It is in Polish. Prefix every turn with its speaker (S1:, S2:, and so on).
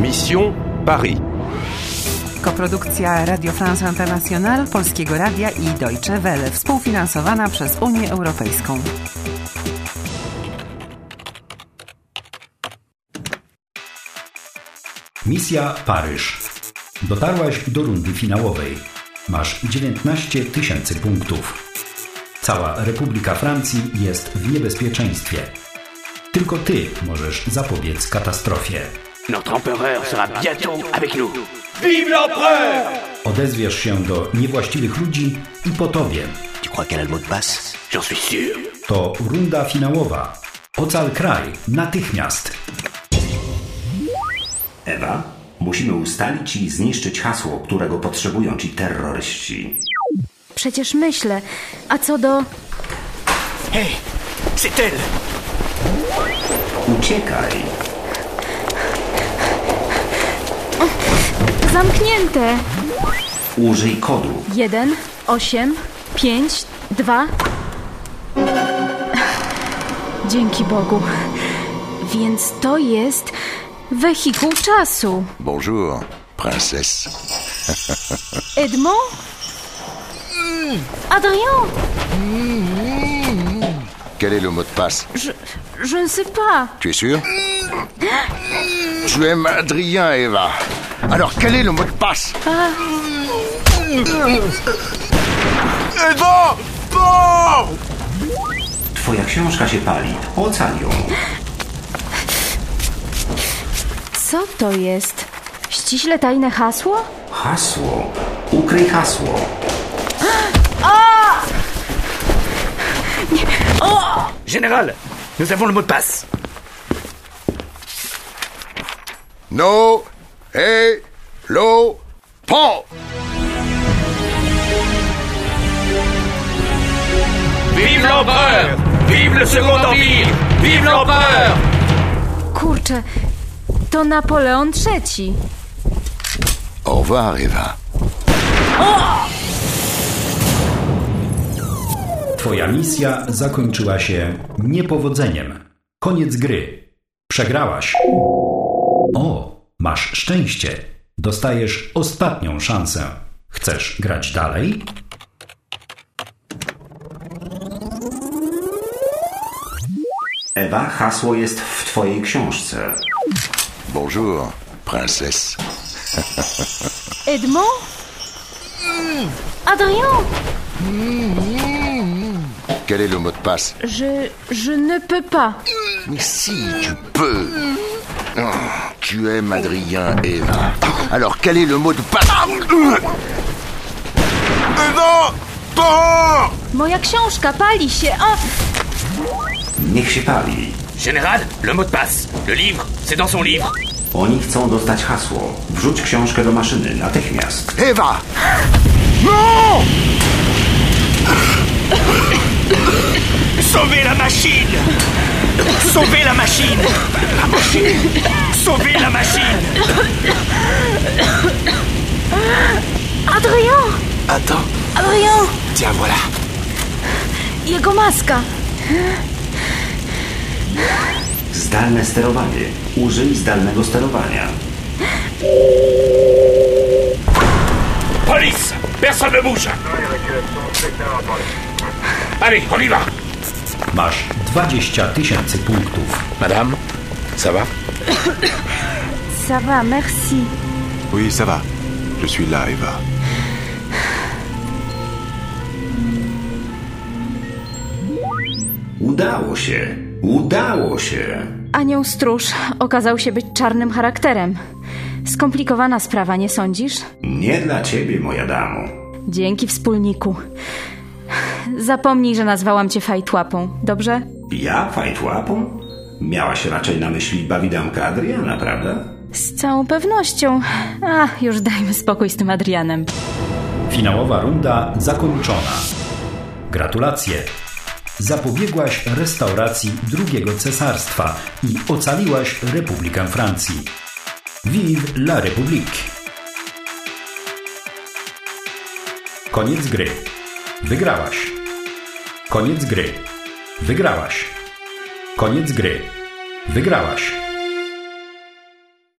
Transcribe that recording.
S1: Mission Paris.
S2: Koprodukcja Radio France International, Polskiego Radia i Deutsche Welle, współfinansowana przez Unię Europejską.
S3: Misja Paryż. Dotarłaś do rundy finałowej. Masz 19 tysięcy punktów. Cała Republika Francji jest w niebezpieczeństwie. Tylko ty możesz zapobiec katastrofie.
S4: Notre empereur sera bientôt avec nous.
S3: Odezwiesz się do niewłaściwych ludzi i po tobie.
S4: Tu crois qu'elle a le mot de passe J'en suis sûr.
S3: To runda finałowa. Ocal kraj natychmiast.
S5: Ewa, musimy ustalić i zniszczyć hasło, którego potrzebują ci terroryści.
S6: Przecież myślę. A co do.
S4: Hé, c'est elle
S5: Uciekaj!
S6: Zamknięte!
S5: Użyj kodu.
S6: 1, 8, 5, 2. Dzięki Bogu. Więc to jest. wehikuł czasu.
S7: Bonjour, princesse.
S6: Edmond? Adrien?
S7: Quel est le mot de passe
S6: Je, je ne sais pas.
S7: Tu es sûr Tu aimes Adrien, Eva. Alors, quel est le mot de passe Eva Bon
S5: Twoja książka się pali. Ocal ją.
S6: Co to jest? Ściśle tajne hasło?
S5: Hasło. Ukryj hasło.
S4: Général, nous avons le mot de passe.
S7: No, hé, lo, pan
S4: Vive l'empereur Vive le Second Empire Vive l'empereur
S6: Kurczę, to Napoleon III.
S7: Au revoir, Eva.
S3: Twoja misja zakończyła się niepowodzeniem. Koniec gry. Przegrałaś. O, masz szczęście. Dostajesz ostatnią szansę. Chcesz grać dalej?
S5: Ewa, hasło jest w twojej książce.
S7: Bonjour, princesse.
S6: Edmond? Adrien?
S7: Quel est le mot de passe
S6: Je, je ne peux pas.
S7: Mais si, tu peux. Oh, tu aimes Adrien, Eva. Alors, quel est le mot de passe Eva Pan
S6: Moja książka pali się. O,
S5: Niech się pali.
S4: Général, le mot de passe. Le livre, c'est dans son livre.
S5: Oni chcą dostać hasło. Wrzuć książkę do maszyny natychmiast.
S7: Eva
S4: Sauvez la machine Sauvez la machine La machine Sauvez la machine
S6: Adrien!
S8: Attends,
S6: Adrien!
S8: tiens, voilà.
S6: Jego maska.
S5: Zdalne sterowanie. Użyj zdalnego sterowania.
S4: Police Personne ne bouge Allez, on y va
S3: Masz 20 tysięcy punktów.
S8: Madame, ça va
S6: Ça va, merci.
S8: Oui, ça va. Je suis là, Eva.
S5: Udało się. Udało się.
S6: Anioł stróż okazał się być czarnym charakterem. Skomplikowana sprawa, nie sądzisz?
S5: Nie dla ciebie, moja damo.
S6: Dzięki wspólniku. Zapomnij, że nazwałam cię fajtłapą, dobrze?
S5: Ja fajtłapą? Miałaś raczej na myśli bawidamka Adriana, prawda?
S6: Z całą pewnością. A, już dajmy spokój z tym Adrianem.
S3: Finałowa runda zakończona. Gratulacje! Zapobiegłaś restauracji drugiego cesarstwa i ocaliłaś Republikę Francji. Vive la République! Koniec gry. Wygrałaś. Koniec gry. Wygrałaś. Koniec gry. Wygrałaś.